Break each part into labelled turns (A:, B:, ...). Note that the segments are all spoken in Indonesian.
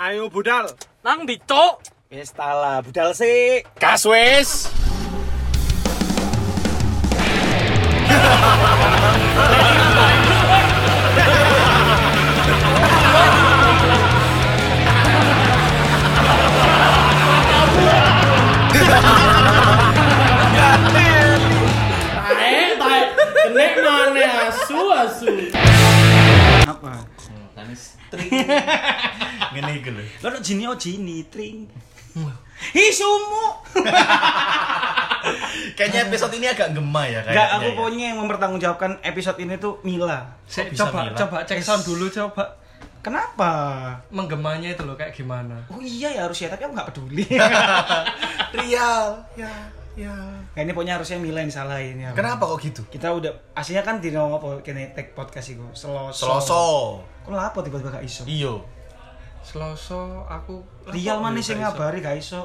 A: Ayo budal.
B: Nang ndi, Cuk?
C: Wis tala, budal sik.
D: Gas wis.
E: Tae, tae. Kene mana asu asu.
F: Ngene iki lho.
C: Lah nek jini oji ini tring. Hi sumu.
F: Kayaknya episode ini agak gema ya kayaknya.
C: Enggak, aku
F: ya.
C: pokoknya yang mempertanggungjawabkan episode ini tuh Mila.
B: Sik,
F: bisa
B: coba
F: bilang?
B: coba cek sound dulu coba.
C: Kenapa?
B: Menggemanya itu loh kayak gimana.
C: Oh iya ya harusnya, tapi aku nggak peduli.
F: Rial. Ya, ya.
C: Kayak Nah, ini pokoknya harusnya Mila yang disalahin ya.
F: Kenapa kok gitu?
C: Kita udah aslinya kan di nama apa kene tag podcast iku. Seloso.
F: Seloso.
C: Kok lapo tiba-tiba gak iso?
F: Iyo.
B: Selasa aku ya,
C: Rial mana sing
B: Gak iso.
C: ngabari gak iso?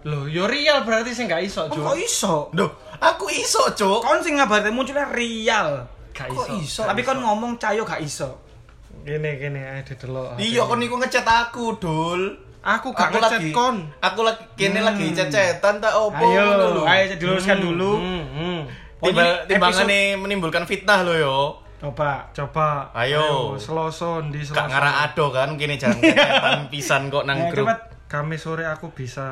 B: Loh, yo real berarti sing gak iso,
C: Oh,
B: Cuk.
C: kok iso?
F: Duh, aku iso, Cuk.
C: Kon sing ngabari munculnya Rial.
B: Gak
F: Kok
B: iso.
F: iso?
C: Tapi kon ngomong cayo gak iso.
B: Gini gini ae didelok.
F: Iya, kon niku ngechat aku, Dul.
B: Aku gak ngechat kon.
F: Aku lagi kene lagi cecetan tak opo
C: Ayo,
F: ngono lho.
C: ayo diluruskan dulu.
B: Hmm, hmm.
F: Timbal
C: Pokoknya
F: timbangane menimbulkan fitnah lho yo.
C: Coba.
B: Coba.
F: Ayo.
B: Selasa ndi Selasa?
F: Kak ngarak ado kan kene jangan kecetan pisan kok nang
C: Ayo,
F: grup. Hmm.
C: cepat.
B: Kamis sore aku bisa.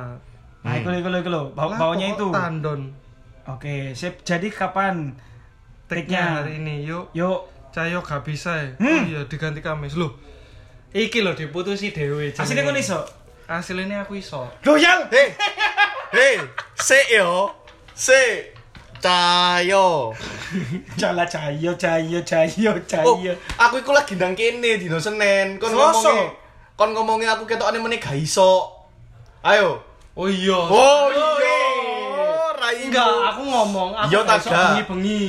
C: Nah, iku iku iku lho, bau
B: Lah, kok
C: baunya itu.
B: Tandon.
C: Oke, sip. Jadi kapan
B: Triknya hari
C: triknya?
B: ini yuk.
C: Yuk,
B: Cayo gak bisa ya.
C: Hmm.
B: Oh iya diganti Kamis loh. Iki loh diputusi dewe.
C: aslinya kon iso.
B: Hasilnya aku iso.
C: Goyal.
F: Hei. Hei, sik yo. Sik. Cayo.
C: Jala cayo cayo cayo
F: Oh,
B: Iya.
C: cayo.
F: aku iku lagi nang kene dino Senin. Kon
C: Selasa.
F: ngomongnya kon ngomongnya aku ketokane meneh gak iso. Ayo.
B: Oh iya.
F: Oh, iya. Rai
B: Enggak, aku ngomong, aku
F: Iya,
B: gak iso
F: tanda.
B: bengi-bengi.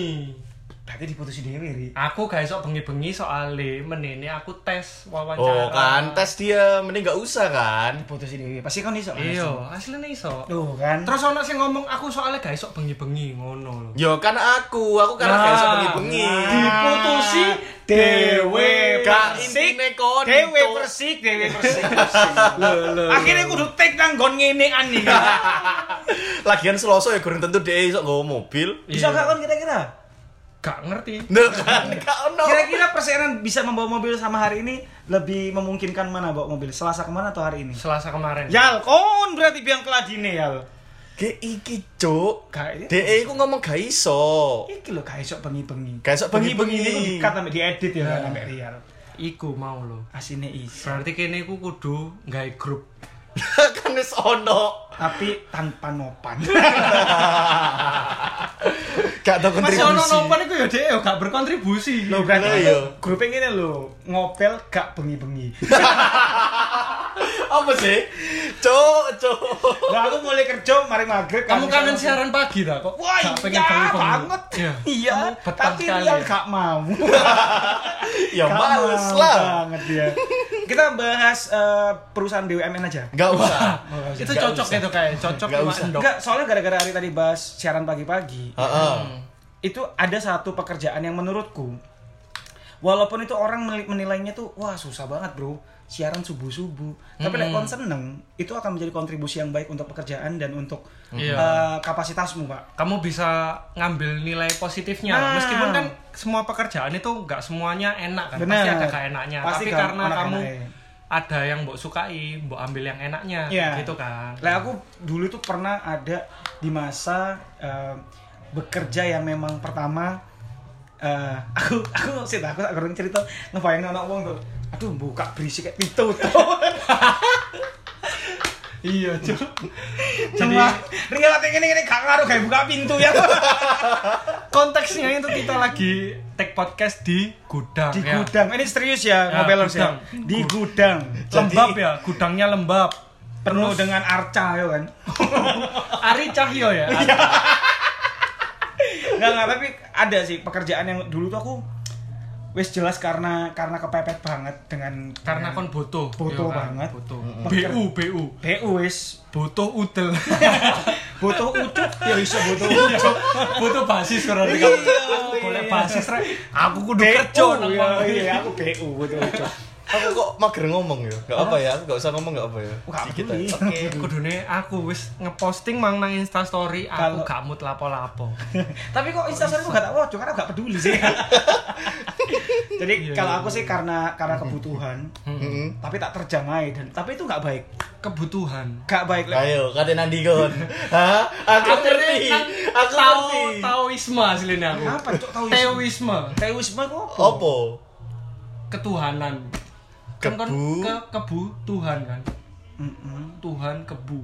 C: Berarti diputusi dhewe, Ri.
B: Aku gak iso bengi-bengi soalnya menene aku tes wawancara.
F: Oh kan, tes dia mending nggak usah kan.
C: Diputusi dhewe. Pasti kon iso. kan?
B: Iya, aslinya iso.
C: Tuh kan.
B: Terus ono sing ngomong aku soalnya gak iso bengi-bengi ngono lho.
F: Yo kan aku, aku karena
B: Nah.
F: gak iso bengi-bengi.
C: Ah. diputusi
B: dewe
F: Gak
B: Nah.
F: intine kon.
C: Dewe
F: Cuk.
C: persik, dewe persik. Akhirnya kudu take nang gon ngenean iki.
F: Lagian Selasa ya kurang tentu dia iso nggawa mobil.
C: Bisa gak kon kira-kira?
B: Gak ngerti.
F: Nah, kan gak ono.
C: Kira-kira persenan bisa membawa mobil sama hari ini lebih memungkinkan mana bawa mobil? Selasa kemana atau hari ini?
B: Selasa kemarin.
C: Yal, kon berarti biang keladine yal.
F: Ge iki, Cuk.
C: Kayak
F: Dia iku ngomong gak iso.
C: iki lho gak esok bengi-bengi.
F: Gak esok bengi-bengi.
C: ini di cut sampe diedit ya kan sampe real.
B: Iku mau lho.
C: Asine iso.
B: Berarti kene aku kudu nggawe grup.
F: kan wis ono.
C: Tapi tanpa nopan.
F: Gak tau
B: Masih ono
F: kontribusi.
B: nopan iku ya dhek ya gak berkontribusi.
C: Lo
F: Lah,
C: berarti
F: iya.
C: grup ini kan, lho ngopel gak bengi-bengi.
F: Apa sih? Cuk, cuk.
C: Lah aku mulai kerja mari maghrib
B: Kamu
C: kan
B: kangen
C: bisa-
B: siaran pagi tak kok?
C: Wah
B: Gak pengen
C: iya
B: bangun-bangun.
C: banget.
B: Iya.
C: Iya,
B: Kamu betah
C: tapi
B: sekali
C: real
B: ya?
C: gak mau.
F: Ya
C: Gak
F: males
C: mau
F: lah.
C: Banget ya. Kita bahas eh, perusahaan BUMN aja.
F: Gak usah.
B: Itu cocok itu kayak cocok
F: Gak
B: sama
F: usah.
B: endok.
C: Enggak, soalnya gara-gara hari tadi bahas siaran pagi-pagi,
F: Heeh.
C: Hmm. itu ada satu pekerjaan yang menurutku walaupun itu orang meli- menilainya tuh wah susah banget, Bro. Siaran subuh-subuh. Tapi lek kon seneng, itu akan menjadi kontribusi yang baik untuk pekerjaan dan untuk
B: Iya.
C: eh, kapasitasmu, Pak.
B: kamu bisa ngambil nilai positifnya
C: Nah.
B: meskipun kan semua pekerjaan itu nggak semuanya enak kan
C: Bener.
B: pasti ada gak ya. enaknya
C: Pasti
B: tapi
C: gak
B: karena
C: enak
B: kamu
C: enaknya.
B: ada yang mbok sukai mbok ambil yang enaknya
C: Iya.
B: gitu kan
C: Lah aku dulu tuh pernah ada di masa eh, bekerja yang memang pertama eh, aku aku sih aku tak goreng cerita ngebayangin anak wong tuh. Aduh buka berisik kayak pitu tuh.
B: iya cuy
C: Jadi ringan hati gini gini gak ngaruh kayak buka pintu ya.
B: konteksnya itu kita lagi take podcast di gudang
C: di
B: ya
C: gudang. Ini serius ya,
B: Ya,
C: ngobelers
B: gudang.
C: ya. Di gudang.
B: lembab ya gudangnya lembab
C: Penuh dengan arca ya kan.
B: Ari Cahyo ya Ari-
C: Enggak enggak tapi ada sih pekerjaan yang dulu tuh aku wis jelas karena karena kepepet banget dengan
B: karena
C: dengan-
B: kon butuh
C: Butuh
B: ya kan?
C: banget.
B: butuh
C: Peker-
B: bu bu
C: BU wis
B: butuh utel
C: butuh ucup ya iso butuh
B: Iya.
C: ucup
B: butuh basis berarti kamu boleh basis rek aku kudu
C: BU
B: kerja nang
C: ya
B: kono.
C: iya aku BU butuh ucup
F: Aku kok mager ngomong ya. Enggak apa ya, aku enggak usah ngomong enggak apa ya.
C: Nggak
F: Dikit
C: peduli.
F: aja.
B: Oke, kudune aku wis ngeposting mang nang Insta story aku
C: Kalau-
B: gak mood lapo-lapo.
C: Tapi kok instastory gak tak wajah karena gak peduli sih. Jadi
B: Iya, iya.
C: kalau aku sih karena karena kebutuhan,
F: Heeh.
C: tapi tak terjamai dan tapi itu nggak baik,
B: Kebutuhan.
C: nggak baik. Le.
F: Ayo, kate nanti kon. Hah? Aku ngerti. Aku
B: tahu
F: ngerti.
B: taoisme asline aku.
C: Apa cok tahu
B: Teoisme,
C: Teoisme kok apa?
F: Opo?
B: ketuhanan. Kan kon
F: Kebu.
B: ke kebu Tuhan kan.
C: Mm-mm.
B: Tuhan kebu.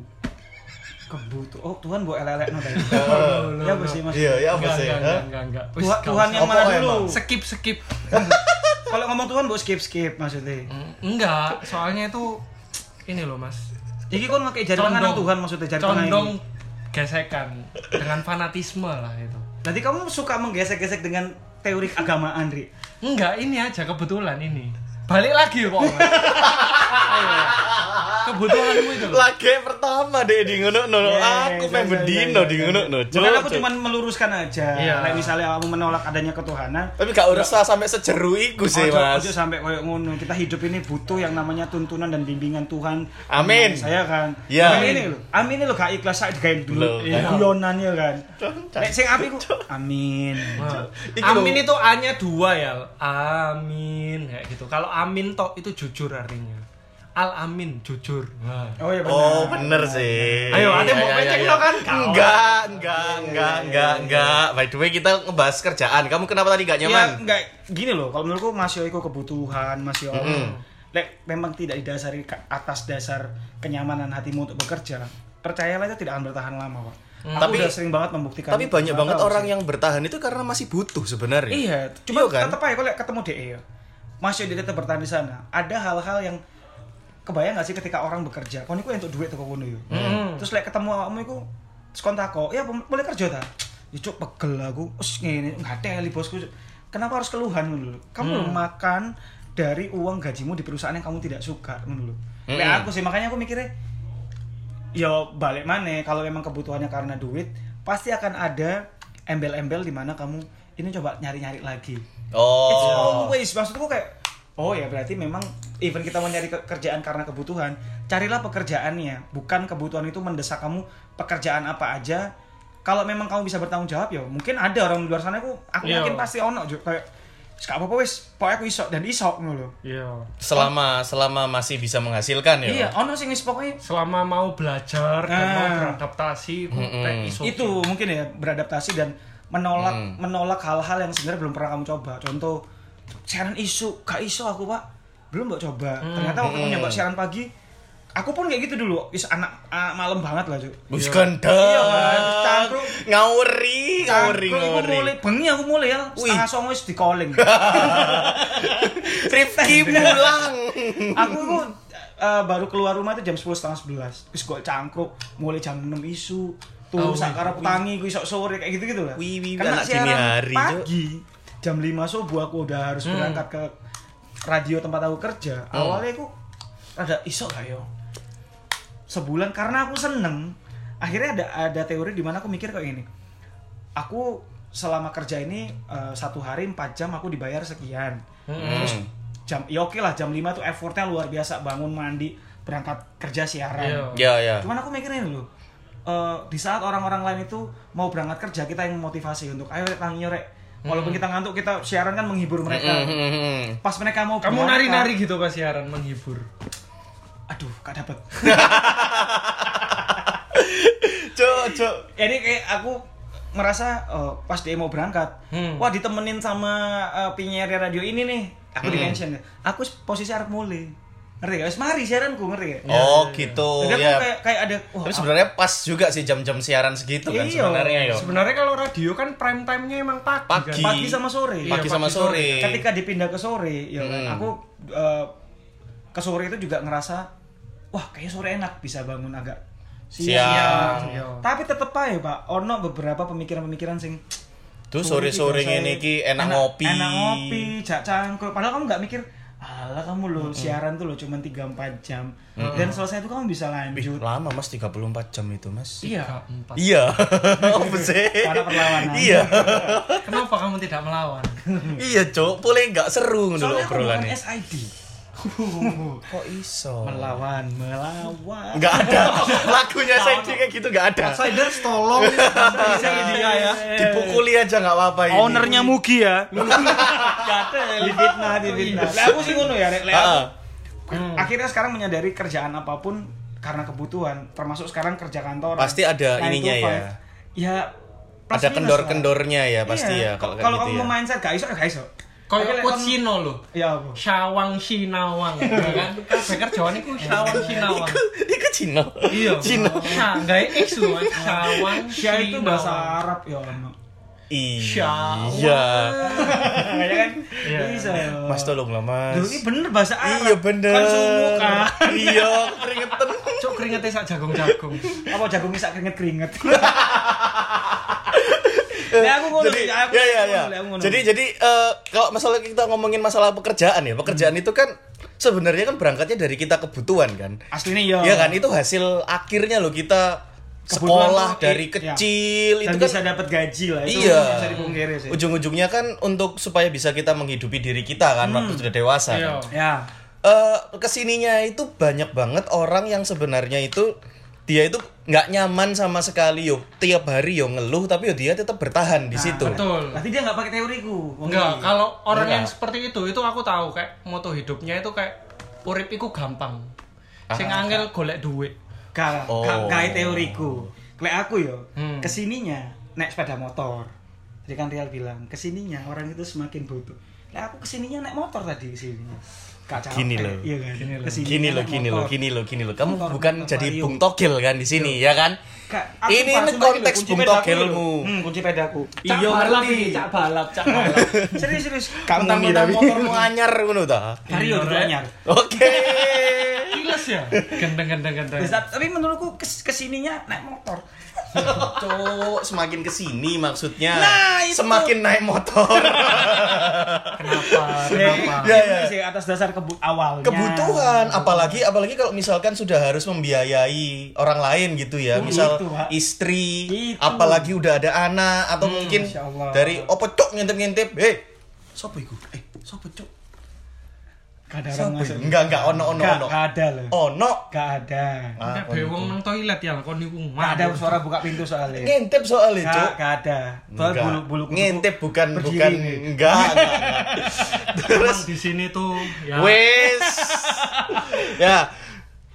C: Kebutuh. Oh Tuhan buat elek-elek no tadi.
F: Heeh.
C: Ya apa sih mas?
F: Iya, ya apa
B: Enggak,
F: sih?
B: enggak,
F: Hah?
B: enggak, enggak, enggak. Wis,
C: Tuhan,
B: gak
C: Tuhan
B: usah.
C: yang mana
F: Apa
C: dulu?
F: emang?
B: skip skip.
C: Kalau ngomong Tuhan buat skip skip maksudnya.
B: Enggak, soalnya itu ini loh, Mas.
C: Jadi kon pakai jari tangan
B: Condong.
C: Tuhan maksudnya jari tangan.
B: condong
C: ini.
B: gesekan dengan fanatisme lah itu
C: Berarti kamu suka menggesek-gesek dengan teori agama Andri.
B: enggak ini aja kebetulan ini balik lagi kok Ayo. kebutuhanmu itu loh.
F: Lagi pertama deh di ngono no. Oh, Aku pengen bendino di ngono no.
C: Bukan aku cuma meluruskan aja.
B: Iya.
C: Kayak misalnya kamu menolak adanya ketuhanan,
F: tapi gak usah sampai sejeru iku sih,
C: ojo,
F: Mas.
C: ojo sampai koyo ngono. Kita hidup ini butuh yang namanya tuntunan dan bimbingan Tuhan. Bimbingan
F: Amin.
C: Saya kan.
F: Iya.
C: Amin ini lolo. Amin ini lo gak ikhlas sak gawe dulu.
F: Loh,
C: Iya.
F: kan.
C: Guyonannya kan.
F: Cok.
C: Nek sing api ku amin.
B: Nah,
F: Iki
B: amin
F: loh.
B: itu A-nya dua ya. Amin kayak gitu. Kalau amin tok itu jujur artinya. Al amin jujur. Nah.
C: Oh iya benar.
F: Oh bener sih.
B: Ayo, ate mau
F: Ayo,
B: becek
F: ayo,
B: lo
F: ayo.
B: kan?
F: Enggak,
C: Iya,
F: enggak, enggak, enggak, enggak. By the way kita ngebahas kerjaan. Kamu kenapa tadi gak nyaman?
C: Iya, enggak gini loh. Kalau menurutku masih iku kebutuhan, masih ono. Lek memang tidak didasari ke atas dasar kenyamanan hatimu untuk bekerja. Percayalah itu tidak akan bertahan lama, Pak. Aku
F: Tapi-
C: udah sering banget membuktikan.
F: Tapi banyak
C: Nggak
F: banget
C: tahu
F: orang
C: sih.
F: yang bertahan itu karena masih butuh sebenarnya.
C: Iya, cuma
F: Iya kan?
C: tetap aja kalau ketemu DE ya. Masih dia tetap bertahan di sana. Ada hal-hal yang kebayang gak sih ketika orang bekerja, kon iku entuk duit teko kono yo. ya. Terus lek ketemu awakmu iku terus kon takok, "Ya pem- boleh kerja ta?" Ya cuk pegel aku. Us ngene, ngateli bosku. Cuk. Kenapa harus keluhan ngono lho? Kamu lho makan dari uang gajimu di perusahaan yang kamu tidak suka ngono lho. Lek aku sih makanya aku mikirnya ya balik mana kalau memang kebutuhannya karena duit pasti akan ada embel-embel di mana kamu ini coba nyari-nyari lagi it's
F: Oh.
C: always maksudku kayak oh ya berarti memang even kita mau nyari ke- kerjaan karena kebutuhan carilah pekerjaannya bukan kebutuhan itu mendesak kamu pekerjaan apa aja kalau memang kamu bisa bertanggung jawab ya mungkin ada orang di luar sana aku aku
B: Iya.
C: yakin pasti ono Ju. kayak gak apa-apa wis pokoknya aku isok dan isok ngono lho
B: Iya.
F: Selama selama masih bisa menghasilkan ya.
C: iya ono sing wis pokoknya
B: Selama mau belajar dan mau
C: Ah.
B: beradaptasi, ku-
F: Mm-mm.
B: kayak iso.
C: itu mungkin ya beradaptasi dan menolak menolak hal-hal yang sebenarnya belum pernah kamu coba contoh siaran isu gak iso aku pak belum mbak coba ternyata waktu aku nyoba siaran pagi aku pun kayak gitu dulu is anak, anak malam banget lah cuy
F: Bus ganda.
C: Iya, Mas. Cangkruk.
F: Ngawuri, ngawuri,
C: Aku- aku
F: ngawuri.
C: mulai bengi aku mulai ya setengah songo wis di calling Iya.
F: Rifki pulang.
C: aku itu eh, baru keluar rumah itu jam sepuluh setengah sebelas terus gue cangkruk mulai jam enam isu
B: Oh,
C: tuh
B: wih,
C: sakara petangi gue sok sore kayak gitu gitu lah
F: Wih, wih,
C: karena
F: anak dini
C: siaran
F: hari, Hmm. Jo.
C: pagi jam 5 subuh aku udah harus berangkat ke radio tempat aku kerja
F: Oh.
C: awalnya aku ada iso gak yo sebulan karena aku seneng akhirnya ada ada teori di mana aku mikir kayak gini aku selama kerja ini eh, satu hari 4 jam aku dibayar sekian terus jam ya oke lah jam 5 tuh effortnya luar biasa bangun mandi berangkat kerja siaran
B: Iya.
F: Ya, ya.
C: Cuman aku mikirin dulu. eh, di saat orang-orang lain itu mau berangkat kerja kita yang motivasi untuk ayo rek tangi rek. Walaupun kita ngantuk kita siaran kan menghibur mereka. Pas mereka mau
B: Kamu
C: berangkat,
B: nari-nari gitu pas siaran menghibur.
C: Aduh, gak dapet.
F: Cuk, cuk.
C: Jadi kayak aku merasa eh, pas dia mau berangkat,
B: Hmm.
C: wah ditemenin sama eh, penyiar radio ini nih. Aku di mention. Aku posisi arep mulai. Ngerti gak? Wis mari siaranku, ngerti gak?
F: Oh, gitu.
C: Iya, Jadi aku
B: iya.
F: Ya.
C: kayak kayak ada wah
F: Tapi sebenarnya pas juga sih jam-jam siaran segitu kan
C: Iya.
F: sebenarnya yo.
B: Sebenarnya kalau radio kan prime time-nya emang Ya. pagi.
F: Pagi.
B: kan?
C: pagi sama sore.
B: Iya,
F: Pagi sama
B: pagi sore.
F: sore.
C: ketika dipindah ke sore ya kan,
F: Hmm.
C: aku eh, ke sore itu juga ngerasa wah kayaknya sore enak bisa bangun agak
F: Siang.
B: Iya.
C: tapi tetep aja pak ono beberapa pemikiran-pemikiran sing
F: Tuh sore-sore
C: iki biasa-
F: ngene iki enak ngopi.
C: enak ngopi jak cangkruk padahal kamu nggak mikir alah kamu lo siaran tuh lo cuma 3-4 jam dan selesai itu kamu bisa
F: Ih,
C: lanjut
F: lama Mas 34 jam itu, Mas.
B: Iya. Empat.
F: Iya. Apa sih?
C: Karena perlawanan.
F: Iya.
B: Kenapa kamu tidak melawan?
F: Iya, Cok. Boleh nggak seru ngono lho
C: soalnya aku bukan
F: obrolannya.
C: SID
F: Kok iso?
C: melawan melawan
F: Enggak ada. Lagunya Sandy kayak gitu enggak ada.
B: Outsiders tolong Saya dia ya
F: Dipukuli aja enggak apa-apa ini.
B: Ownernya Mugi ya
C: ada difitnah difitnah ya. lah aku sih ngono ya Rek. Lah,
F: Heeh.
C: aku- akhirnya sekarang menyadari kerjaan apapun karena kebutuhan termasuk sekarang kerja kantor
F: Pasti ada ininya ya.
C: ya plus minus
F: Ada
C: lah.
F: kendor-kendornya ya pasti
C: Iya.
F: ya kalau kayak
C: kalau
F: gitu
C: kamu
F: ya.
C: mindset gak iso ya gak iso
B: Kayak
C: Tapi lek
B: quote
C: kon-
B: Sino loh
C: ya apa
B: Syawang Sinawang ya kan Kabeh kerjaan iku Syawang Sinawang
F: Iku Cina.
B: Iya
F: Cina.
B: Sanggai X loh Mas. Syawang
C: Sya Ya, itu
B: Sinawang.
C: bahasa Arab ya ono
F: Iya.
C: ya kan bisa
F: Mas tolonglah Mas.
C: Duh, ini bener bahasa Arab
F: Iya bener.
C: kan sumuk kan
F: Iya, keringetan.
B: Cuk keringetnya sak jagung-jagung
C: apa jagung bisa keringet keringet Ya, aku ngono sih,
F: jadi,
C: aku
F: ya, ya,
C: ngono,
F: ya.
C: aku ngono.
F: Jadi jadi eh, kalau masalah kita ngomongin masalah pekerjaan ya,
C: Hmm.
F: pekerjaan itu kan sebenarnya kan berangkatnya dari kita kebutuhan kan.
C: aslinya ya
F: Iya kan itu hasil akhirnya loh kita sekolah
C: Kebutuhan tuh,
F: dari
C: iya.
F: kecil
C: dan
F: itu
C: bisa
F: kan
C: dapat gaji lah itu
F: Iya.
C: nggak bisa dipungkiri sih
F: ujung-ujungnya kan untuk supaya bisa kita menghidupi diri kita kan
C: Hmm.
F: waktu sudah dewasa.
B: Iya.
F: Kan.
C: ya
F: Eh, kesininya itu banyak banget orang yang sebenarnya itu dia itu nggak nyaman sama sekali yo tiap hari yo ngeluh tapi yo dia tetap bertahan
C: Nah,
F: di situ.
B: Betul
C: berarti dia nggak pakai teoriku Wong
B: Enggak,
C: ini.
B: kalau orang
F: Enggak.
B: yang seperti itu itu aku tahu kayak moto hidupnya itu kayak urip iku gampang. Sing angel golek duit.
C: Gak,
F: Oh.
C: gak, gak teoriku. Kayak aku yo,
B: Hmm.
C: kesininya naik sepeda motor. Jadi kan Rial bilang, kesininya orang itu semakin butuh. Lah aku kesininya naik motor tadi kesininya. Gak capek.
F: Gini loh.
C: Iya kan? Kesininya
F: Gini loh,
C: naik
F: gini
C: motor.
F: loh, gini loh, gini loh. Kamu
C: Motor,
F: bukan
C: motor,
F: jadi
C: payung.
F: Bung Togel kan di sini ya kan?
C: Gak, aku
F: Ini-
C: sumpah-
F: ini
C: sumpah loh,
F: konteks
C: kunci
F: Bung
C: pedaku
F: Togel
C: loh.
F: mu.
C: Hmm, kunci pedaku.
B: Cak
F: Iya,
B: balap
F: ngerti.
B: iki, cak balap, cak balap.
C: Serius serius.
F: Kamu nih
C: Mentang-mentang
F: tapi
C: motor
F: motormu
C: mu-
F: anyar ngono ta.
C: Hari yo juga gitu, anyar.
F: Oke.
B: Kiles ya. Gendeng gendeng gendeng.
C: Terus, Tapi menurutku kes- kesininya naik motor.
F: Cuk, semakin kesini maksudnya
C: Nah, itu.
F: semakin naik motor.
B: Kenapa? Kenapa?
C: Kenapa?
F: Iya, iya.
C: Ini sih atas dasar kebu awalnya.
F: kebutuhan
C: Ya.
F: apalagi apalagi kalau misalkan sudah harus membiayai orang lain gitu ya
C: Hmm,
F: misal
C: gitu, Pak.
F: istri
C: Gitu. Hmm,
F: apalagi udah ada anak atau mungkin
C: Masya Allah.
F: dari opo cok ngintip ngintip eh sopo iku eh sopo cok
C: Gak ada orang
F: sopo iku Oh.
C: masuk.
F: enggak enggak ono ono
C: Gak
F: ono
C: gak ada loh.
F: ono
C: Gak ada.
F: Ah,
B: Nek bewong nang toilet ya kon niku.
C: Nggak ada suara buka pintu soalnya.
F: ngintip soalnya
C: Nggak,
F: cok
C: nggak ada. Soal
F: Enggak.
C: bulu bulu kudu-
F: ngintip bukan
C: berdiri
F: bukan
C: nih.
F: enggak enggak, enggak. terus
B: Terus di sini tuh ya.
F: Wes. ya.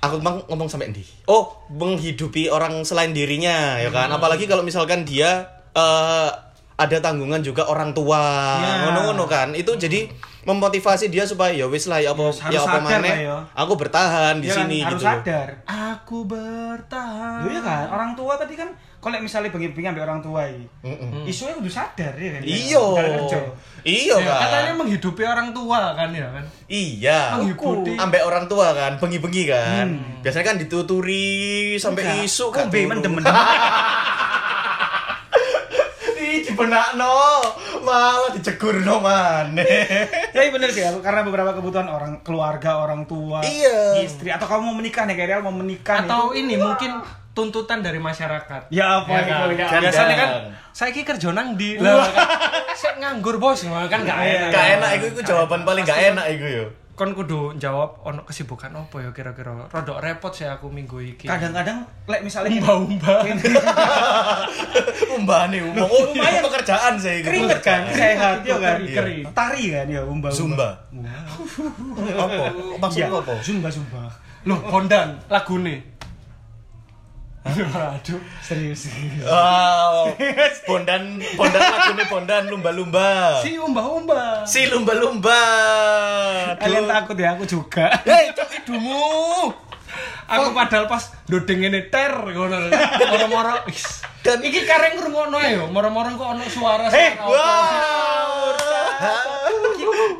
F: Aku emang ngomong sampai endi? Oh, menghidupi orang selain dirinya, ya
C: Hmm.
F: kan? Apalagi kalau misalkan dia eh ada tanggungan juga orang tua,
C: Ya.
F: ngono-ngono kan? Itu jadi memotivasi dia supaya ya wis lah ya apa
C: Iya, harus
F: ya apa
C: sadar
F: maneh,
C: lah ya."
F: Aku bertahan di
C: Iya kan,
F: sini
C: harus
F: gitu. loh.
C: sadar.
B: Aku bertahan. Ya,
C: Loh iya kan, orang tua tadi kan kalau misalnya bengi-bengi ambil orang tua iki.
F: Mm-mm.
C: Isunya kudu sadar ya kan.
F: Hmm. Iya.
C: Nggak kerja.
F: Iya
B: Ya, katanya
F: kan?
B: menghidupi orang tua kan ya kan.
F: Iya.
B: Menghidupi.
F: Ambek orang tua kan, bengi-bengi kan.
C: Hmm.
F: Biasanya kan dituturi sampai isu
C: kan.
F: kan.
C: Kombe
F: turu.
C: mendem
F: Ih, dibenakno, malah dicegurno maneh.
C: Ya iya bener sih, aku- karena beberapa kebutuhan orang keluarga, orang tua,
F: Iya.
C: istri atau kamu mau menikah nih, kayak Rial mau menikah nih.
B: Atau ini mungkin tuntutan dari masyarakat.
C: Ya apa
B: Ya
C: itu,
B: kan?
C: ya.
F: Janda.
B: Biasanya kan saya ki kerja nang di. Lah saya nganggur bos wah, kan gak
C: Iya,
B: enak.
F: Gak enak iku iku jawaban paling gak enak iku yo.
B: Kon kudu jawab ono kesibukan apa ya kira-kira. Rodok repot saya aku minggu iki.
C: Kadang-kadang lek misalnya
B: Umba-umba.
F: Umbane umum. Oh, lumayan pekerjaan saya iku.
C: keringet kan, sehat ya kan.
B: Keringet, keringet.
C: Tari kan ya, umba.
F: Zumba. Apa? Maksudmu apa?
C: Ya. Zumba, zumba.
B: Loh, Hondan lagune. Aduh.
C: Serius.
F: Wow. Bondan, bondan lagune bondan lumba-lumba.
B: Si umba-umba.
F: Si lumba-lumba.
C: Kalian takut ya, aku juga.
F: Hei, cok hidungmu.
B: Aku padahal pas dodeng ngene ter ngono. Moro-moro. is.
F: Dan-
B: iki kareng ngrungokno ya, moro-moro kok ono suara suara
C: Eh,
B: apa.
F: Wow.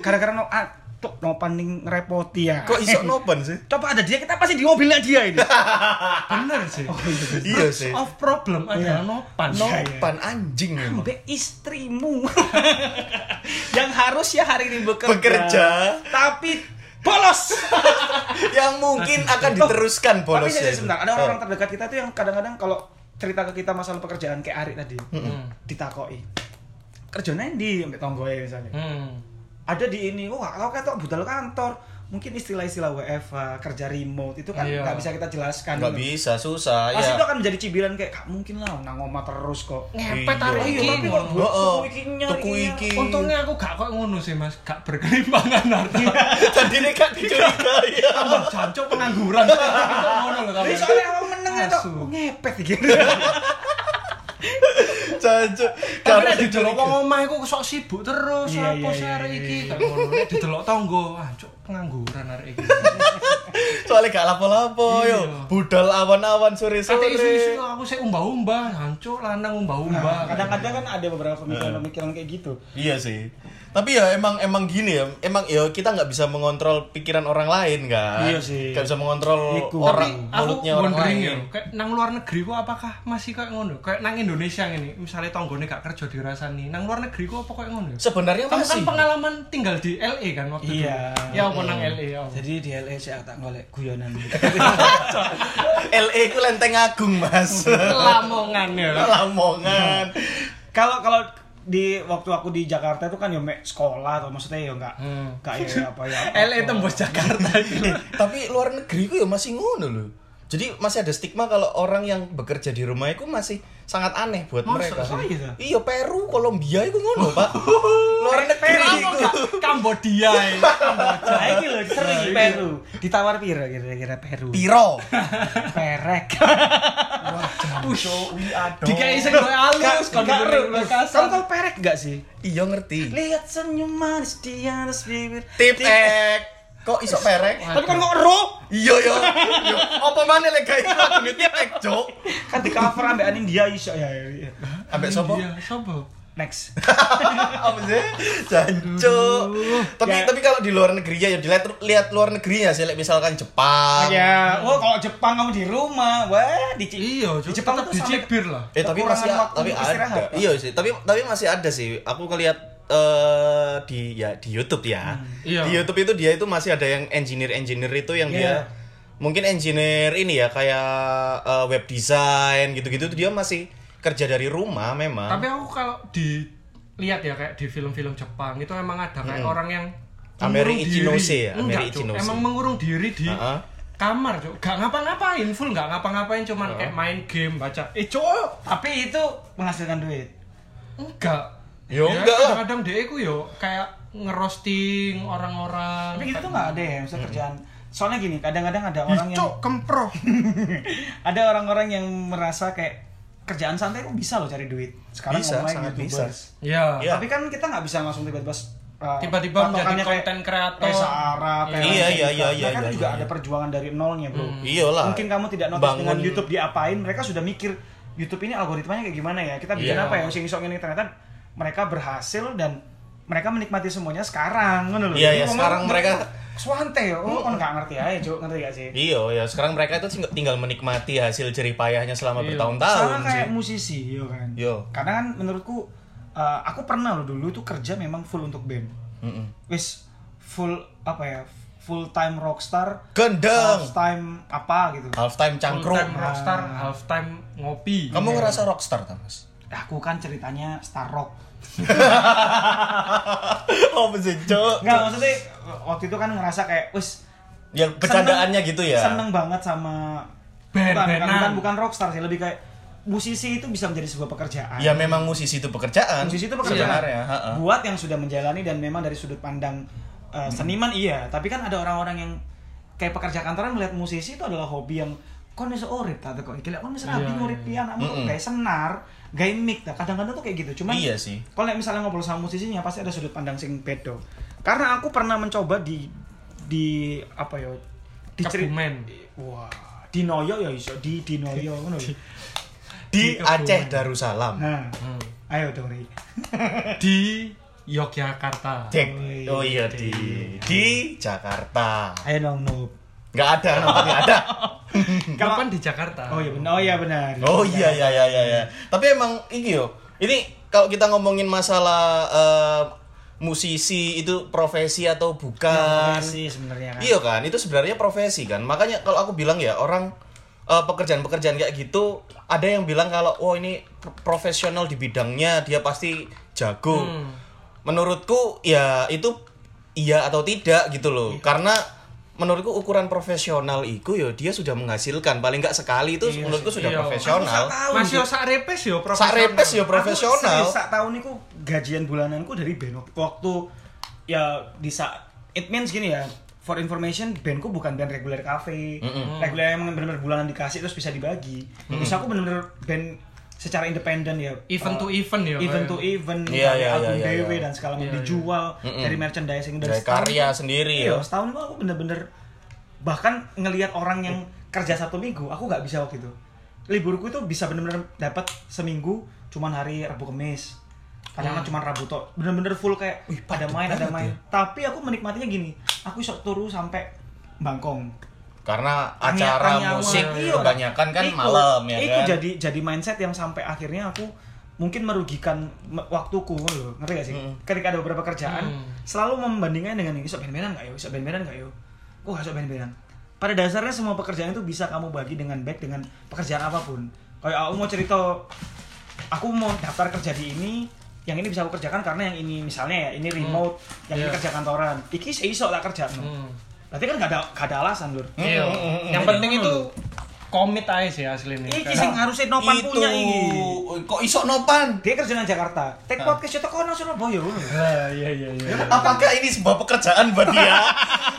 C: Gara-gara no atuk no paning ngerepoti ya.
F: Kok iso nopan sih?
C: Coba ada dia, kita pasti di mobilnya dia ini.
B: Bener sih.
F: Iya sih.
B: Of problem adalah nopan.
C: Iya,
F: Nopan anjing memang.
C: Sampai istrimu yang harus ya hari ini bekerja,
F: Bekerja.
C: tapi bolos.
F: yang mungkin akan
C: tapi
F: diteruskan
C: saya
F: bolosnya. ya itu. Oh,
C: sebentar, ada orang-orang terdekat kita tuh yang kadang-kadang kalau cerita ke kita masalah pekerjaan kayak Ari tadi, ditakoi. Kerjanya di sampai tonggoe ya, misalnya.
B: Hmm.
C: oh, Ada di ini, wah kau kayak tok budal kantor. mungkin istilah-istilah WFH, kerja remote itu kan
B: Iya.
C: nggak bisa kita jelaskan.
F: nggak
C: gitu.
F: bisa susah
C: Pasti
F: ya
C: itu akan menjadi cibiran kayak "Gak mungkin lah nang omah terus kok.
B: ngepet
F: Iya.
B: hari
C: Iya,
B: ini
C: tapi kok
F: Oh, oh.
C: tuku iya. iki nyari
F: tuku
C: ini.
F: iki
B: untungnya aku gak kok ngono sih mas gak berkelimpangan harta
F: tadi nih kan dicurigai ya
B: tambah jancok pengangguran Itu ngono loh
C: Jadi
B: tambah.
C: Iya, soalnya awang meneng itu
B: Asu.
C: ngepet gitu.
F: Jancuk.
B: tapi
F: Kamu
B: nek didelok wong omah iku sok sibuk terus
C: Iya,
B: apa
C: iya,
B: sih
C: iya,
B: arek
C: iya,
B: iki
C: iya.
B: gak ngono nek didelok tangga ah cuk pengangguran arek iki
F: soalnya gak lapo-lapo
B: Iya.
F: yo budal awan-awan sore-sore
B: kate isu-isu aku sik umbah-umbah hancur lanang umbah-umbah
C: Nah, kadang-kadang kan ada beberapa pemikiran-pemikiran kayak gitu.
F: Iya sih. Tapi ya emang emang gini ya, emang ya kita nggak bisa mengontrol pikiran orang lain kan.
C: Iya sih.
F: Nggak bisa mengontrol Oh,
C: Iku.
F: orang
B: aku
F: mulutnya orang
B: wondering
F: lain.
B: ya kayak nang luar negeri kok apakah masih kayak ngono kayak nang Indonesia ini misalnya tonggone gak kerja dirasani nang luar negeri kok apa kayak ngono
F: Sebenarnya
B: kamu kan
F: masih.
B: pengalaman tinggal di LA kan waktu itu
C: Iya.
B: ya apa nang LA ya apa?
C: Jadi di LA saya tak golek guyonan.
F: LA E ku lenteng agung mas.
B: Lamongan ya
F: Lamongan.
C: Kalau kalau di waktu aku di Jakarta itu kan ya mek sekolah atau maksudnya ya enggak
B: Hmm.
C: kayak apa ya.
B: LA tembus Jakarta itu
F: Tapi luar negeri ku ya masih ngono loh. Jadi masih ada stigma kalau orang yang bekerja di rumah itu masih sangat aneh buat
B: Masa
F: mereka.
C: sih? Iya.
F: Iya Peru, Kolombia itu ngono pak. luar negeri itu.
B: Kambodia ya.
C: Nah, ini loh, seru di Peru. Ditawar piro kira-kira Peru?
F: Piro.
C: Perek.
B: Push. Dikai sing koyo alus kon
C: Enggak,
B: diberi
C: Ru.
B: kasar.
C: Kamu tahu perek enggak sih?
F: Iya ngerti.
C: Lihat senyum manis di atas bibir.
F: Tip ek. Kok iso perek?
C: Tapi kan kok ro?
F: Iya yo. Yo, Apa mana lek gawe lagune tip ek, Cok?
C: Kan di cover ambek anin dia iso ya. ya, ya.
F: Ambek sapa?
B: Iya, sapa?
C: Next.
F: Apa sih? Jancuk. Tapi
C: Ya.
F: tapi kalau di luar negeri ya dilihat lihat luar negerinya sih like misalkan Jepang.
C: Ya, oh kalau Jepang kamu di rumah, wah di Ci-
B: Iya,
C: di Jepang tuh sampai-
B: dicibir lah.
F: Eh tapi
C: Kekurangan
F: masih
C: waktu
F: tapi
C: untuk istirahat.
F: ada. Iya sih, tapi tapi masih ada sih. Aku ngeliat eh di ya di YouTube ya.
B: Iya.
F: Di YouTube itu dia itu masih ada yang engineer-engineer itu yang
C: Hmm, Iya.
F: dia mungkin engineer ini ya kayak eh, web design gitu-gitu tuh dia masih kerja dari rumah memang.
B: Tapi aku kalau di lihat ya kayak di film-film Jepang itu emang ada kayak orang yang
F: Ameri
B: mengurung
F: Ichinose
B: diri.
F: ya,
B: Enggak,
F: Ameri
B: Cuk.
F: Ichinose.
B: Emang mengurung diri di
F: Ha-ha.
B: kamar, Cuk. Gak ngapa-ngapain, full gak ngapa-ngapain cuman kayak main game, baca. Eh, Cuk,
C: Tapi itu menghasilkan duit.
B: enggak. Ya,
F: Yo, enggak lah.
B: Kadang-kadang dia iku yo kayak ngerosting orang-orang.
C: Tapi gitu tuh nggak ada ya, misalnya kerjaan. Soalnya gini, kadang-kadang ada orang
B: Ih,
C: yang
B: Cuk, kempro.
C: ada orang-orang yang merasa kayak kerjaan santai kok bisa loh cari duit. Sekarang
F: Bisa,
C: online
F: sangat
C: YouTubers.
F: bisa.
B: Ya.
F: Iya.
C: Tapi kan kita nggak bisa langsung tiba-tiba uh,
B: Tiba-tiba
C: patokannya
B: menjadi
C: kayak
B: konten kreator.
C: Reza Arab,
B: Iya,
C: kayak
F: iya,
C: Reza
F: iya,
C: Arab.
F: iya,
C: Mereka kan
F: iya,
C: juga
F: iya. Hmm.
C: ada perjualan dari nolnya, Bro.
F: Iyalah.
C: Mungkin kamu tidak notice dengan
F: Bangun-
C: YouTube diapain, mereka sudah mikir YouTube ini algoritmanya kayak gimana ya? Kita bikin
F: Iya.
C: apa ya? Sing isok ini ternyata mereka berhasil dan mereka menikmati semuanya sekarang, ngono loh.
F: Iya,
C: Jadi
F: iya,
C: ngomong,
F: sekarang mereka- Hmm.
C: Swante ya, oh, kan nggak ngerti aja, Cuk, ngerti gak sih?
F: Iya, ya sekarang mereka itu ting- tinggal menikmati hasil jeripayahnya selama
B: Iya.
F: bertahun-tahun
C: sama
F: sih.
C: kayak musisi yo kan
F: Yo.
C: karena kan menurutku eh, aku pernah loh dulu tuh kerja memang full untuk band
F: Mm-mm.
C: wis full apa ya full time rockstar
F: Gendeng.
C: half time apa gitu
F: Halftime
B: Cangkruk.
F: cangkruk.
B: Time rockstar, half time ngopi.
F: Ah. Kamu ngerasa rockstar tak, Mas?
C: aku kan ceritanya star rock
F: oh, sih, Cok?
C: nggak maksudnya waktu itu kan ngerasa kayak wis
F: Yang Ya, bercandaannya
C: seneng-
F: gitu ya.
C: seneng banget sama
B: Band-
C: bukan, bukan,
B: bandan.
C: bukan, bukan rockstar sih lebih kayak musisi itu bisa menjadi sebuah pekerjaan
F: Ya memang musisi itu pekerjaan.
C: musisi itu pekerjaan
F: Sebenarnya, ha-ha.
C: Iya. buat yang sudah menjalani dan memang dari sudut pandang uh,
F: Hmm.
C: seniman iya tapi kan ada orang-orang yang kayak pekerja kantoran melihat musisi itu adalah hobi yang kon iso urip ta kok iki lek kon iso
F: Iya,
C: rapi urip pian amun kok
F: Mm-mm.
C: gawe senar gawe mic ta kadang-kadang tuh kayak gitu cuman
F: Hmm. Iya sih.
C: kalau lek misalnya ngobrol sama musisinya pasti ada sudut pandang sing bedo karena aku pernah mencoba di di apa ya di ceri-
B: Kebumen.
C: wah di Noyo ya iso di di Noyo ngono lho.
F: Di
B: Di
F: Aceh
B: Kebumen.
F: Darussalam.
C: nah
B: Hmm.
C: ayo Dori
B: Di Yogyakarta.
F: Cek.
C: Oh,
F: Oh iya di di Jakarta.
C: ayo dong Noob
F: Nggak ada, nampak nggak ada.
C: Kalau-
B: Kapan di Jakarta?
C: Oh iya benar. Oh iya benar.
F: Oh iya iya iya iya. iya. Tapi emang ini yo. Ini kalau kita ngomongin masalah eh, musisi itu profesi atau bukan.
C: sih sebenarnya kan.
F: Iya kan, itu sebenarnya profesi kan. Makanya kalau aku bilang ya orang eh, pekerjaan-pekerjaan kayak gitu ada yang bilang kalau oh ini pro- profesional di bidangnya dia pasti
C: Hmm.
F: jago. Menurutku ya itu iya atau tidak gitu loh. Karena menurutku ukuran profesional itu ya dia sudah menghasilkan paling nggak sekali itu menurutku sudah
B: Iya.
F: profesional
C: Aku tahu,
B: Masih
C: Dik.
B: sak repes yo
F: sak repes ya profesional
C: Aku serius, sak tahun niku gajian bulananku dari band waktu ya di saat it means gini ya for information bandku bukan band reguler cafe reguler yang benar-benar bulanan dikasih terus bisa dibagi terus aku benar-benar band secara independen ya
B: Event
C: eh,
B: to event ya,
C: event
B: kayak.
C: to event
F: Iya,
C: dari
F: iya,
C: album
F: iya, iya,
C: dewe
F: iya.
C: dan segala macam
B: Iya, iya.
C: dijual dari merchandising dari
F: Dari
C: setahun
F: karya
C: itu-
F: sendiri
C: iya
F: ya.
C: setahun itu aku bener-bener bahkan ngelihat orang yang kerja satu minggu aku nggak bisa waktu itu liburku itu bisa bener-bener dapat seminggu cuman hari Rabu Kamis kadang kan cuma Rabu tok bener-bener full kayak wih ada main ada main
F: ya.
C: tapi aku menikmatinya gini aku sok turu sampai Bangkong
F: karena
C: Tangi-
F: acara
C: tangi awal.
F: musik
C: Iya.
F: kebanyakan kan
C: Iku-
F: malam ya
C: itu
F: kan
C: jadi jadi mindset yang sampai akhirnya aku mungkin merugikan me- waktuku loh ngerti gak sih
F: Hmm.
C: ketika ada beberapa kerjaan selalu membandingkan dengan ini sok ben-benan gak yo sok ben-benan gak yo kok gak sok ben-benan pada dasarnya semua pekerjaan itu bisa kamu bagi dengan baik dengan pekerjaan apapun kayak aku mau cerita aku mau daftar kerja di ini yang ini bisa aku kerjakan karena yang ini misalnya ya
F: Hmm.
C: ini remote yang ini
B: Iya.
C: kerja kantoran iki seiso tak kerja
B: Hmm.
C: berarti kan gak ada gak ada alasan lur
B: Iya. Yang penting itu komit aja sih aslinya.
C: hmm, iki
B: Kayak-
C: Iya, sing harusnya nopan
F: itu
C: punya iki
F: kok iso nopan
C: dia kerja di Jakarta take podcast itu kono Surabaya ngono.
B: Lah, iya iya
C: Ya,
B: iya.
F: apakah ini sebuah pekerjaan buat dia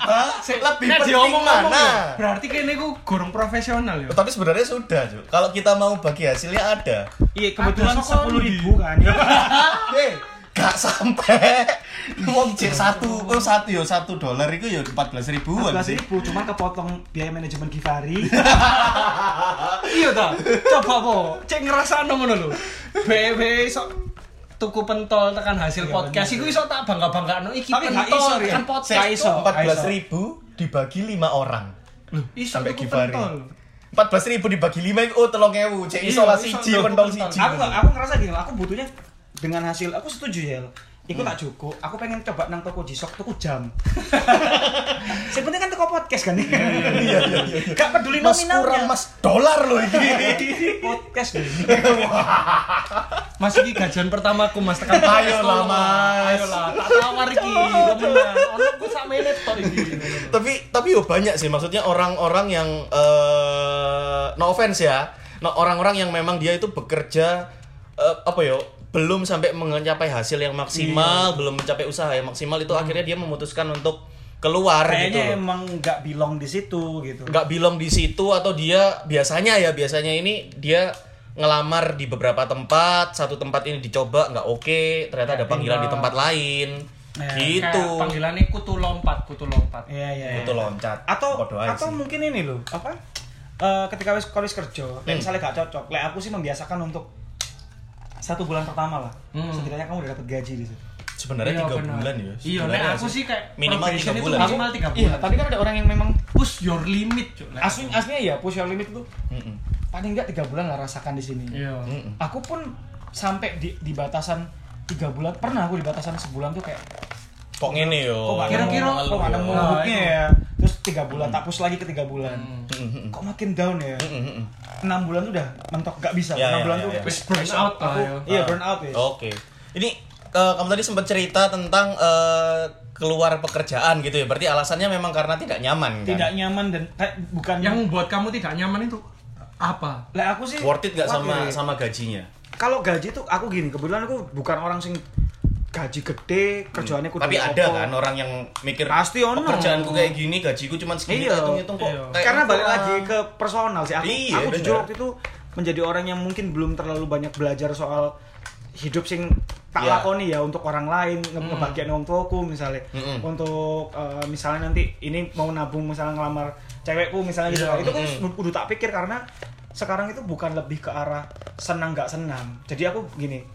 F: Hah? lebih
B: Nek
F: penting
B: diomong-omong
F: mana
B: ya, Berarti kene ku gorong profesional ya.
F: tapi sebenarnya sudah Ju. kalau kita mau bagi hasilnya ada
C: iya kebetulan
B: Ada sokol
C: sepuluh
B: di-
C: ribu kan
F: Eh, gak sampai wong cek satu oh satu yo satu dolar itu yo empat belas ribuan
C: belas
F: sih
C: ribu cuma kepotong biaya manajemen Givari
B: Iya ta. Coba po, cek ngrasakno ngono lho. BW sok tuku pentol tekan hasil
C: Iya,
B: podcast iku iso tak bangga-banggakno iki
C: Tapi gak iso,
B: pentol
C: Rian.
B: tekan
C: Gak
B: podcast.
C: iso.
F: empat belas ribu dibagi lima orang
B: Loh, iso
F: sampai
B: tuku
F: Givari
B: pentol.
F: empat belas ribu dibagi lima itu oh telung ewu cek
B: Iya,
F: isolasi
B: iso-
F: siji
B: iso-
F: pentol
B: iso-
F: siji
C: aku aku ngerasa gini loh, aku butuhnya dengan hasil aku setuju ya Iku tak cukup, aku pengen coba nang toko jisok, toko jam. Sebenarnya kan toko podcast kan.
F: iya iya iya
C: Gak peduli
F: mas kurang
C: nominalnya.
F: mas dolar loh ini
C: podcast deh.
B: Mas iki gajian pertamaku Mas tekan podcast
F: Ayo
B: tolong,
F: lah, Mas.
B: Ayo lah, tak tawar iki. Temenan. Ono ku sak menit tok iki.
F: tapi tapi yo banyak sih maksudnya orang-orang yang eh no offense ya no orang-orang yang memang dia itu bekerja eh, apa yo belum sampai mencapai hasil yang maksimal belum mencapai usaha yang maksimal itu akhirnya dia memutuskan untuk keluar gitu
C: Kayaknya
F: loh
C: emang nggak belong di situ gitu.
F: nggak bilang di situ atau dia biasanya ya biasanya ini dia ngelamar di beberapa tempat satu tempat ini dicoba nggak oke ternyata ada panggilan di tempat lain
C: Ya,
F: gitu
B: Kayak panggilannya kutu lompat, kutu lompat.
C: Iya iya. iya.
F: itu loncat
C: atau
F: Bodoh aja
C: atau
F: sih.
C: mungkin ini loh apa Eh ketika wis kau wis kerja
F: Hmm.
C: lek misalnya gak cocok lek aku sih membiasakan untuk satu bulan pertama lah
B: Hmm.
C: setidaknya kamu udah dapat gaji di situ
F: sebenarnya
B: Iya,
F: tiga
B: benar.
F: bulan ya
B: Iya,
F: sebenarnya
B: nek aku sih kayak
F: minimal tiga
B: probation itu
F: bulan
B: Aku malah tiga bulan.
C: iya tapi kan ada orang yang memang
B: push your limit, Cuk.
F: Nah.
B: Nek
C: aslinya aslinya ya push your limit tuh
F: Mm-mm.
C: paling nggak tiga bulan lah rasakan di sini
B: Iya.
F: Mm-mm.
C: aku pun sampai di, di batasan tiga bulan pernah aku di batasan sebulan tuh kayak
F: kok ngene yo
C: kok gak
B: kira-kira
C: nemu- kok gak nemu
B: Nah,
F: Oh,
C: hooknya
B: itu.
F: iya.
C: ya terus tiga bulan tak push lagi ke tiga bulan
F: Hmm.
C: kok makin down ya enam bulan tuh udah mentok gak bisa
F: Ya,
C: enam
F: ya,
C: bulan
F: ya,
C: tuh
F: ya.
C: kayak,
B: Wis burn out lah
C: aku-
B: ya.
C: iya burn out ya
F: oke ini eh, kamu tadi sempat cerita tentang eh, keluar pekerjaan gitu ya berarti alasannya memang karena tidak nyaman kan
C: tidak nyaman dan kayak bukan
B: yang membuat kamu tidak nyaman itu apa?
C: lah aku sih
F: worth it nggak
C: kuat
F: sama
C: ya.
F: sama gajinya
C: kalau gaji tuh aku gini kebetulan aku bukan orang sing gaji gede kerjaannya kudu
F: tapi ada
C: opo.
F: kan orang yang mikir
C: Pasti ono.
F: pekerjaanku kayak gini gajiku cuma segini
C: Iya.
F: hitung hitung
B: Iya.
F: kok kayak gitu."
C: karena balik
F: kurang.
C: lagi ke personal sih aku
F: Iya,
C: aku
F: bener.
C: jujur waktu itu menjadi orang yang mungkin belum terlalu banyak belajar soal hidup sing tak
F: Iya.
C: lakoni ya untuk orang lain nge ngebagian wong tuaku misalnya
F: Mm-mm.
C: untuk eh, misalnya nanti ini mau nabung misalnya ngelamar cewekku misalnya gitu
B: Iya,
C: itu kan udah tak pikir karena sekarang itu bukan lebih ke arah senang nggak senang jadi aku gini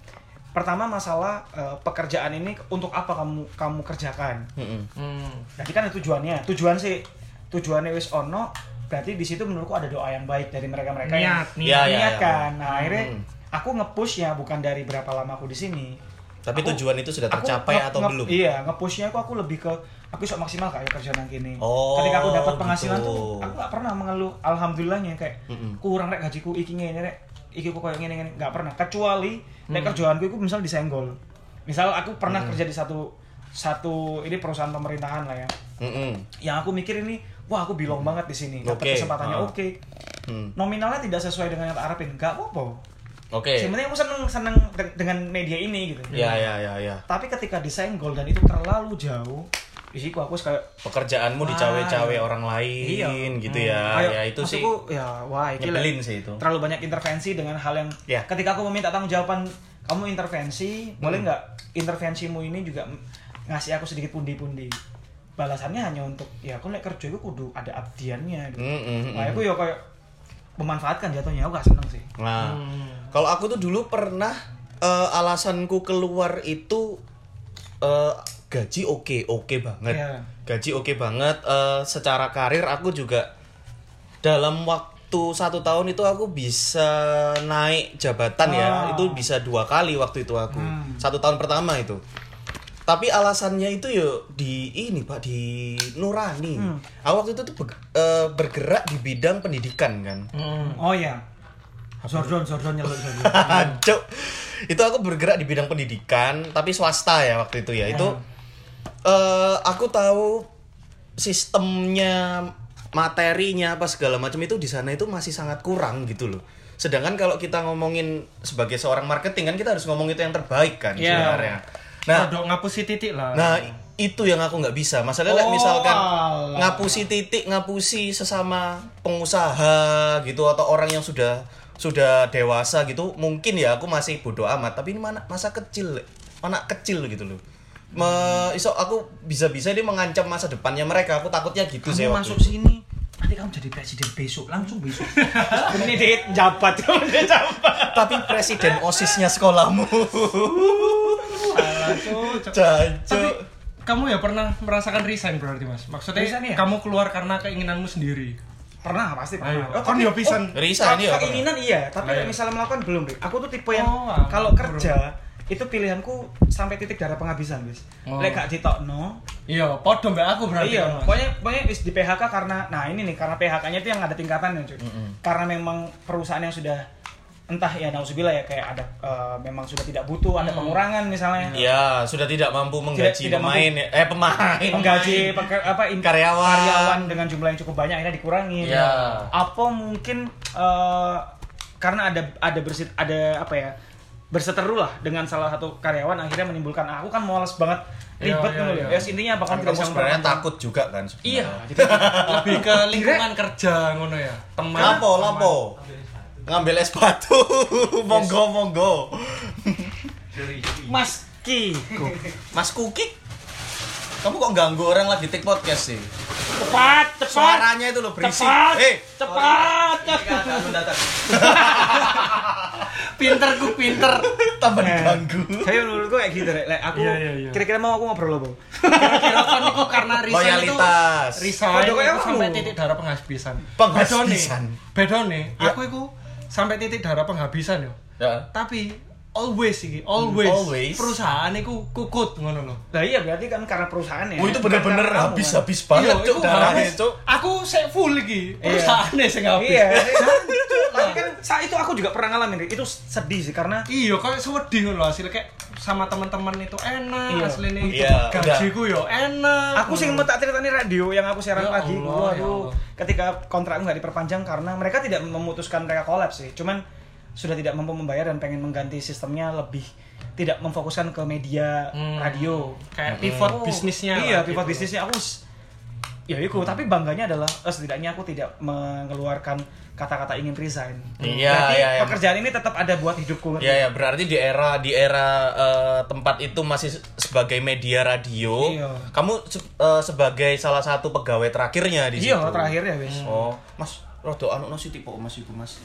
C: pertama masalah eh, pekerjaan ini untuk apa kamu kamu kerjakan
F: Mm-mm.
B: Hmm.
C: Berarti kan ada tujuannya. Tujuan sih tujuannya wis ono, berarti di situ menurutku ada doa yang baik dari mereka-mereka yang
B: Niat, niat.
F: Iya, iya,
C: niat
F: iya.
C: kan. Nah, akhirnya
F: Hmm.
C: aku nge-push ya bukan dari berapa lama aku di sini.
F: tapi
C: Aku-
F: tujuan itu sudah
C: Aku
F: tercapai
C: nge-
F: atau
C: nge-
F: belum
C: Iya, nge-pushnya aku aku lebih ke aku sok maksimal kayak kerja nang kini.
F: Oh,
C: Ketika aku dapat penghasilan
F: gitu.
C: tuh aku gak pernah mengeluh alhamdulillahnya kayak
F: Mm-mm.
C: kurang rek gajiku iki ngene rek iki ku koyo ngene ngene gak pernah kecuali nek kerjaanku iku misal disenggol. Misal aku pernah kerja di satu satu ini perusahaan pemerintahan lah ya
F: Mm-mm.
C: yang aku mikir ini wah aku bilang banget di sini dapat
F: Hmm. Oke.
C: kesempatannya
F: Ah.
C: oke
F: Hmm.
C: nominalnya tidak sesuai dengan yang tak harapin nggak apa-apa
F: Oke.
C: Sebenarnya aku seneng seneng de- dengan media ini gitu
F: Ya ya ya ya.
C: tapi ketika disenggol dan itu terlalu jauh di situ aku kayak
F: Pekerjaanmu
C: Wah,
F: dicawe-cawe
C: iya.
F: orang lain gitu ya.
C: Ayo,
F: ya itu sih.
C: maksudku, ya wah iki lah.
F: Nyebelin sih itu.
C: terlalu banyak intervensi dengan hal yang
F: Ya. Hmm.
C: ketika aku meminta tanggung jawaban kamu intervensi boleh nggak intervensimu ini juga m- ngasih aku sedikit pundi-pundi balasannya hanya untuk ya aku naik kerja itu kudu ada abdiannya gitu.
F: Hmm, hmm, hmm.
C: Nah, aku ya kayak memanfaatkan jatuhnya aku gak seneng sih
F: Nah,
C: Hmm.
F: kalau aku tuh dulu pernah eh, alasanku keluar itu eh, gaji oke oke banget,
C: Iya.
F: gaji oke banget. Eh, secara karir aku juga dalam waktu satu tahun itu aku bisa naik jabatan ya,
C: Ah. Hmm.
F: itu bisa dua kali waktu itu aku, satu tahun pertama itu. Tapi alasannya itu yo di ini pak di nurani.
C: Hmm.
F: Aku waktu itu tuh be- eh, bergerak di bidang pendidikan kan.
B: Hmm.
C: oh ya Zordon Zordon nyeluk Zordon
F: Nah. Cuk. Itu aku bergerak di bidang pendidikan, tapi swasta ya waktu itu ya. Itu eh aku tahu sistemnya, materinya apa segala macam itu di sana itu masih sangat kurang gitu loh. Sedangkan kalau kita ngomongin sebagai seorang marketing kan kita harus ngomong itu yang terbaik kan
B: Iya.
F: sebenarnya. Nah,
B: Nah, ngapusi titik lah.
F: Nah, i- itu yang aku nggak bisa. Masalahnya like,
C: Oh,
F: misalkan
C: alah.
F: ngapusi titik, ngapusi sesama pengusaha gitu atau orang yang sudah sudah dewasa gitu, mungkin ya aku masih bodoh amat. Tapi ini mana masa kecil, Le. anak kecil gitu loh. Me, iso aku bisa-bisa dia mengancam masa depannya mereka. Aku takutnya gitu sih.
C: kamu
F: waktu
C: masuk
F: itu.
C: sini nanti kamu jadi presiden besok langsung besok ini dikit jabat dia jabat
F: Tapi presiden osisnya sekolahmu.
B: Tapi
F: Jancuk.
B: kamu ya pernah merasakan resign berarti mas? Maksudnya
C: Resign ya?
B: kamu keluar karena keinginanmu sendiri.
C: pernah pasti
B: Ayo,
C: pernah Oh,
B: kan ya pisan.
F: Resign ya,
C: keinginan iya tapi
B: Ayo.
C: misalnya melakukan belum Rik. aku tuh tipe yang
B: Oh, aman.
C: kalau kerja itu pilihanku sampai titik darah penghabisan wis
B: Oh.
C: lek gak ditokno
B: Iya, podo mbak aku berarti.
C: iya
B: kan, Mas?
C: pokoknya pokoknya wis di PHK karena nah ini nih karena PHK-nya itu yang ada tingkatannya cuy karena memang perusahaan yang sudah entah ya nauzubillah ya kayak ada eh, memang sudah tidak butuh ada pengurangan misalnya
F: Ya, sudah tidak mampu menggaji
C: tidak mampu.
F: pemain ya. eh pemain. Kan
C: menggaji peker- apa in-
F: Karyawan.
C: karyawan dengan jumlah yang cukup banyak akhirnya dikurangin
F: Iya.
C: apa mungkin eh, karena ada ada bersit ada apa ya berseteru lah dengan salah satu karyawan akhirnya menimbulkan "Ah, aku kan males banget
B: Iya,
C: ribet
B: iya,
C: ngono lho."
B: iya.
C: Ya, intinya apa kan
F: kan kamu sebenarnya takut juga kan
B: Iya,
F: sebenarnya.
B: jadi lebih ke lingkungan kerja ngono ya. Teman.
F: lapo lapo ngambil es batu monggo monggo
C: Mas Ki
F: mas kukik kamu kok ganggu orang lagi take podcast sih
C: cepat cepat
F: suaranya itu loh berisik
C: cepat
F: eh
C: cepat
F: kan
B: Pinter ku pinter.
F: tambah
C: Eh,
F: diganggu
C: Tapi menurut gue kayak gitu, Rek. Like, aku
B: Iya, iya, iya.
C: kira-kira mau aku ngobrol apa?
B: Kira-kira kan itu karena resign
F: Loyalitas.
B: itu resign
C: Podo kayak
B: itu
C: kamu.
B: sampai titik darah penghabisan.
F: Penghabisan.
B: Bedone,
F: Ya.
B: aku itu sampai titik darah penghabisan yo.
F: ya.
B: Tapi always iki, always,
F: Hmm, always.
B: perusahaan iku kukut ngono loh.
C: Nah iya berarti kan karena perusahaan ya.
F: Oh, itu bener-bener habis
C: kan?
F: habis banget
B: Iya,
F: cuk
B: iku
F: darahnya
B: habis.
F: cuk Iya.
B: Aku sek full iki. Perusahaane sing habis.
C: Iya. Tapi kan saat itu aku juga pernah ngalamin Rik. itu sedih sih karena
B: Iya, kok sewedhi ngono lho hasilnya kayak sama teman-teman itu enak,
C: Iya.
B: asline
F: Iya, udah.
B: gajiku yo enak.
C: aku sih mau tak ceritain radio yang aku siaran
B: Ya
C: pagi.
B: Allah,
C: Waduh,
B: ya Allah.
C: ketika kontrakku nggak diperpanjang karena mereka tidak memutuskan mereka kolaps sih. Cuman sudah tidak mampu membayar dan pengen mengganti sistemnya lebih tidak memfokuskan ke media
B: Hmm.
C: radio
B: kayak pivot
C: Oh,
B: bisnisnya.
C: iya
B: lah
C: pivot
B: gitu.
C: bisnisnya aku s- ya itu tapi bangganya adalah eh, setidaknya aku tidak mengeluarkan kata-kata ingin resign
F: Iya,
C: Berarti
F: iya, iya.
C: pekerjaan ini tetap ada buat hidupku
B: Iya,
C: ngerti?
F: Ya ya berarti di era di era eh, tempat itu masih se- sebagai media radio,
C: Iya.
F: kamu se- eh, sebagai salah satu pegawai terakhirnya di
C: iya
F: situ.
C: terakhir ya
B: Hmm.
C: wes
F: Oh, Mas, rodo anu nasi tipe Mas iku Mas.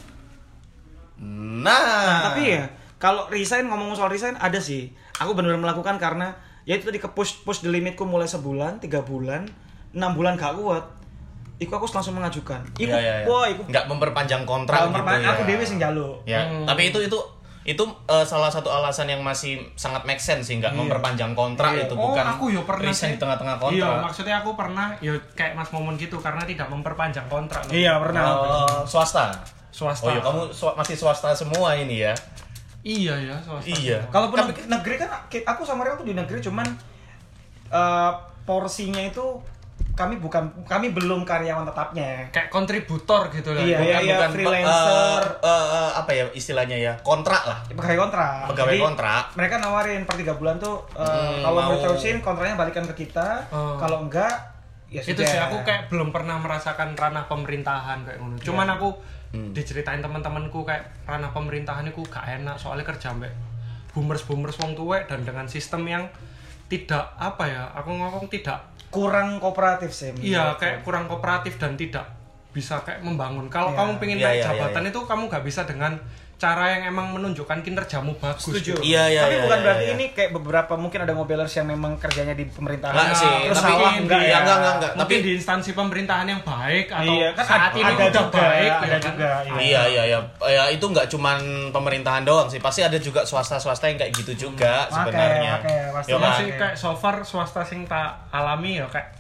F: Nah,
C: Nah, tapi ya kalau resign ngomong soal resign ada sih. Aku benar-benar melakukan karena ya itu tadi ke push push the limitku mulai sebulan, tiga bulan, enam bulan gak kuat. Iku aku langsung mengajukan. Iku,
F: Iya, iya, iya.
C: wah, iku
F: nggak memperpanjang kontrak
C: Kalau
F: gitu
C: perma-
F: ya.
C: aku dewe sing njaluk.
F: Ya, tapi itu itu itu eh, salah satu alasan yang masih sangat make sense sih nggak memperpanjang kontrak
C: Iya.
F: itu
B: Oh,
F: bukan
B: aku yo pernah sih.
F: resign di
B: Iya,
F: tengah-tengah kontrak.
B: maksudnya aku pernah yo kayak Mas Momon gitu karena tidak memperpanjang kontrak. loh.
C: Iya pernah.
F: Eh, swasta.
B: Swasta.
F: Oh iya, kamu swa- masih swasta semua ini ya.
B: Iya ya, swasta.
F: Iya.
C: Kalau pun neg- negeri kan aku sama Real tuh di negeri cuman eh, porsinya itu kami bukan kami belum karyawan tetapnya.
B: kayak kontributor gitu lah
C: Iya,
B: bukan,
C: iya, iya,
B: bukan
C: freelance.
F: Eh,
C: Freelancer.
F: eh, eh, apa ya istilahnya ya kontrak lah
C: Pegawai kontrak.
F: pegawai
C: Jadi,
F: kontrak
C: Mereka nawarin per tiga bulan tuh eh,
F: Hmm,
C: kalau mau
F: mau.
C: terusin kontraknya balikan ke kita.
B: Oh.
C: Kalau enggak ya
B: itu
C: sudah.
B: sih aku kayak belum pernah merasakan ranah pemerintahan kayak ngono cuman
F: Iya.
B: aku
F: Hmm.
B: diceritain teman-temanku kayak ranah pemerintahan itu gak enak soalnya kerja mbak boomers boomers wong tuwek dan dengan sistem yang tidak apa ya aku ngomong tidak
C: kurang kooperatif sih.
B: Iya,
C: menurutku.
B: kayak kurang kooperatif dan tidak bisa kayak membangun. Kalau
C: Iya.
B: kamu pengen
F: Iya,
B: naik
F: iya,
B: jabatan
F: iya,
B: itu kamu nggak bisa dengan cara yang emang menunjukkan kinerjamu bagus. gitu.
C: setuju.
F: Iya, iya,
C: Tapi
F: iya,
C: bukan
F: iya,
C: berarti
F: iya.
C: ini kayak beberapa mungkin ada mobilers yang memang kerjanya di pemerintahan.
F: Enggak sih,
C: Ah, terus
F: tapi-
C: salah enggak ya?
F: Iya, enggak, enggak, enggak.
B: Mungkin
F: Tapi-
B: di instansi pemerintahan yang baik atau
C: Iya, kan
B: saat
C: ada-
B: ini
C: ada
B: udah
C: juga,
B: baik,
C: ada
B: ya kan?
C: juga, iya.
F: Iya iya iya ya itu nggak cuman pemerintahan doang sih pasti ada juga swasta-swasta yang kayak gitu juga
C: Makanya,
F: sebenarnya.
C: makanya, pasti
F: Yo,
B: Cuman
F: kan?
B: sih kayak so far swasta sing tak alami ya kayak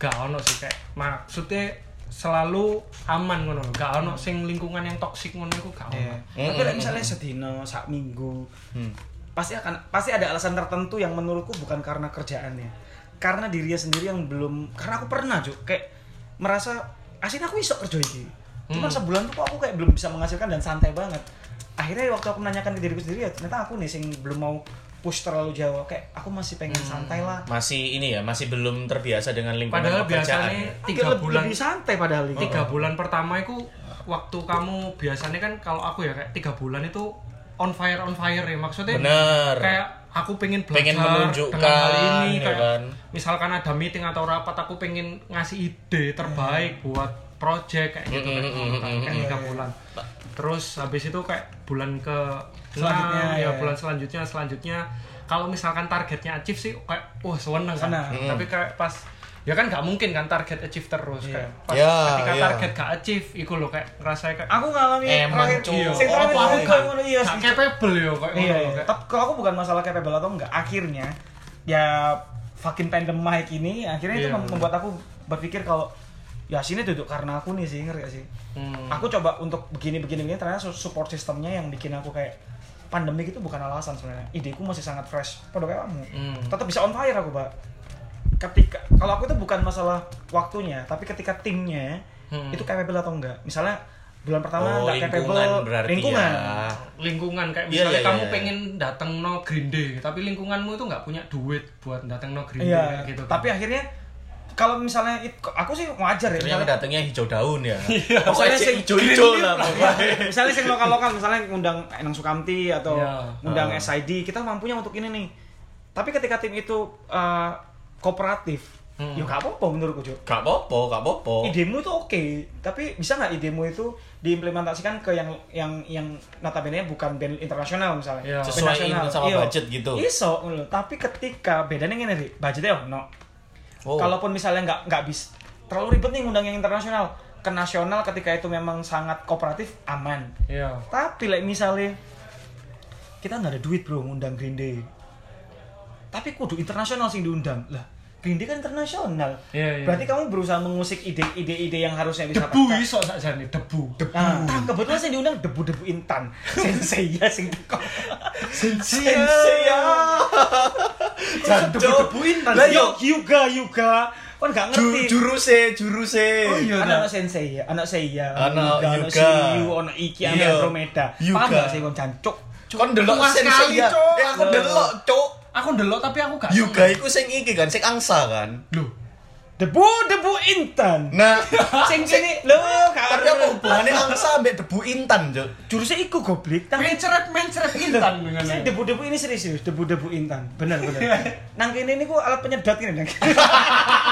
B: gak ono sih kayak maksudnya selalu aman ngono lho. Gak ono sing lingkungan yang toksik ngono iku gak ono.
C: Iya. Tapi
B: eh,
F: Mm-mm.
C: like, misalnya sedino, sak minggu,
F: Hmm.
C: pasti akan pasti ada alasan tertentu yang menurutku bukan karena kerjaannya, karena dirinya sendiri yang belum. Karena aku pernah juga kayak merasa asin aku iso kerja ini. Cuma
B: Hmm.
C: sebulan tuh kok aku kayak belum bisa menghasilkan dan santai banget. Akhirnya waktu aku menanyakan ke diriku sendiri ya ternyata aku nih sing belum mau push terlalu jauh kayak aku masih pengen
B: Hmm.
C: santai lah.
F: Masih ini ya masih belum terbiasa dengan lingkungan
B: Padahal
F: pekerjaan. ya.
B: biasanya
C: Tiga
B: tiga bulan Oh.
C: lebih santai padahal ini.
B: tiga bulan pertama itu waktu kamu biasanya kan kalau aku ya kayak tiga bulan itu on fire on fire ya maksudnya
F: Bener.
B: kayak aku pengen belajar
F: Pengen menunjukkan,
B: dengan hal ini
F: ya
B: kayak
F: kan?
B: misalkan ada meeting atau rapat aku pengen ngasih ide terbaik
F: Hmm.
B: buat project kayak gitu
F: Mm,
B: kayak,
F: mm, mm, mm,
B: kayak
F: mm,
B: tiga bulan terus habis itu kayak bulan ke
C: Selanjutnya,
B: enam, ya
C: ya.
B: bulan selanjutnya selanjutnya kalau misalkan targetnya achieve sih kayak wah seneng kan
C: Seneng.
F: Mm.
B: tapi kayak pas ya kan nggak mungkin kan target achieve terus
C: Iya.
B: kayak pas
F: Ya,
B: ketika
F: ya.
B: target gak achieve iku lho kayak ngerasa kayak
C: Aku ngalami
F: Emang,
C: terakhir-
F: cuy.
C: sing
B: oh,
C: terakhir
B: apa aku
C: kali
B: gak,
C: ngono, iya,
B: gak
C: sih.
B: capable ya kayak
C: iya,
B: ngono,
C: iya.
B: kayak-
C: tapi kalau aku bukan masalah capable atau enggak akhirnya ya fucking pandemic ini akhirnya itu
B: Iya,
C: mem- membuat aku berpikir kalau ya sini duduk karena aku nih sih ngerti gak sih
B: Hmm.
C: aku coba untuk begini begini begini ternyata su- support sistemnya yang bikin aku kayak pandemi itu bukan alasan sebenarnya ideku masih sangat fresh pada kayak kamu
B: Hmm.
C: tetap bisa on fire aku pak ketika kalau aku itu bukan masalah waktunya tapi ketika timnya
B: Hmm.
C: itu capable atau enggak misalnya bulan pertama
F: Oh,
C: enggak
F: lingkungan
C: capable
F: berarti
C: lingkungan
F: ya.
B: lingkungan kayak
F: Iya,
B: misalnya
F: iya,
B: kamu
F: iya.
B: pengen dateng no Green Day tapi lingkunganmu itu nggak punya duit buat dateng no Green Day
C: Iya,
B: kayak gitu kan.
C: tapi akhirnya kalau misalnya it- aku sih wajar ya.
F: Ternyata
C: Misalnya,
F: datangnya hijau daun ya.
C: Pokoknya
F: Pokoknya
C: sing-
F: hijau-hijau lah pokoknya.
C: ya. misalnya sing lokal-lokal misalnya ngundang Enang Sukamti atau
B: Iya.
C: ngundang
F: Ah.
C: SID, kita mampunya untuk ini nih. Tapi ketika tim itu eh, kooperatif,
B: Hmm.
C: ya gak apa-apa menurutku, Jo.
F: Gak apa-apa, gak apa-apa.
C: Idemu itu oke, tapi bisa nggak idemu itu diimplementasikan ke yang yang yang notabene bukan band internasional misalnya.
B: Iya.
C: Band
F: Sesuaiin
C: nasional.
F: sama
C: Iya.
F: budget gitu.
C: Iso, ngono. tapi ketika bedanya ngene sih, budgetnya ono.
F: Oh.
C: Kalaupun misalnya nggak nggak bis terlalu ribet nih ngundang yang internasional ke nasional ketika itu memang sangat kooperatif aman.
B: iya
C: Tapi like misalnya kita nggak ada duit bro ngundang Green Day. Tapi kudu internasional sih diundang lah. Green Day kan internasional.
B: Iya, iya.
C: Berarti kamu berusaha mengusik ide-ide-ide yang harusnya bisa
B: debu Hmm.
C: pecah.
B: iso saja nih debu Ah. debu
C: Nah, tak, kebetulan sih diundang debu-debu intan. Sensei ya sing teko. Sensei ya.
F: Iya.
C: Jangan debu-debu intan.
F: Lah,
C: Yo, Yuga Yuga. Kan nggak ngerti.
F: Ju- Juruse, juruse.
C: Oh iya, anak sensei ya, anak seiya,
F: Anak
C: anak
F: Yuga.
C: Shiyu, anak Iki, anak
F: Iya.
C: Andromeda.
F: Yuga.
C: Paham gak sih kon jancuk?
F: Kon delok
B: Tua
F: sensei
B: sekali,
F: ya.
B: Cok.
F: Eh, aku delok, Cuk.
B: aku ndelok tapi aku gak
F: Yuga iku sing iki kan, sing angsa kan.
B: loh
C: Debu debu intan.
F: Nah,
C: Sing sini lho, gak
F: tapi apa hubungannya angsa ambek debu intan, Cuk?
C: Jurusnya iku goblok. Tapi
B: mencret mencret intan dengan
C: sing debu-debu ini serius serius, debu-debu intan. Bener bener. nang kene niku alat penyedot kene nang.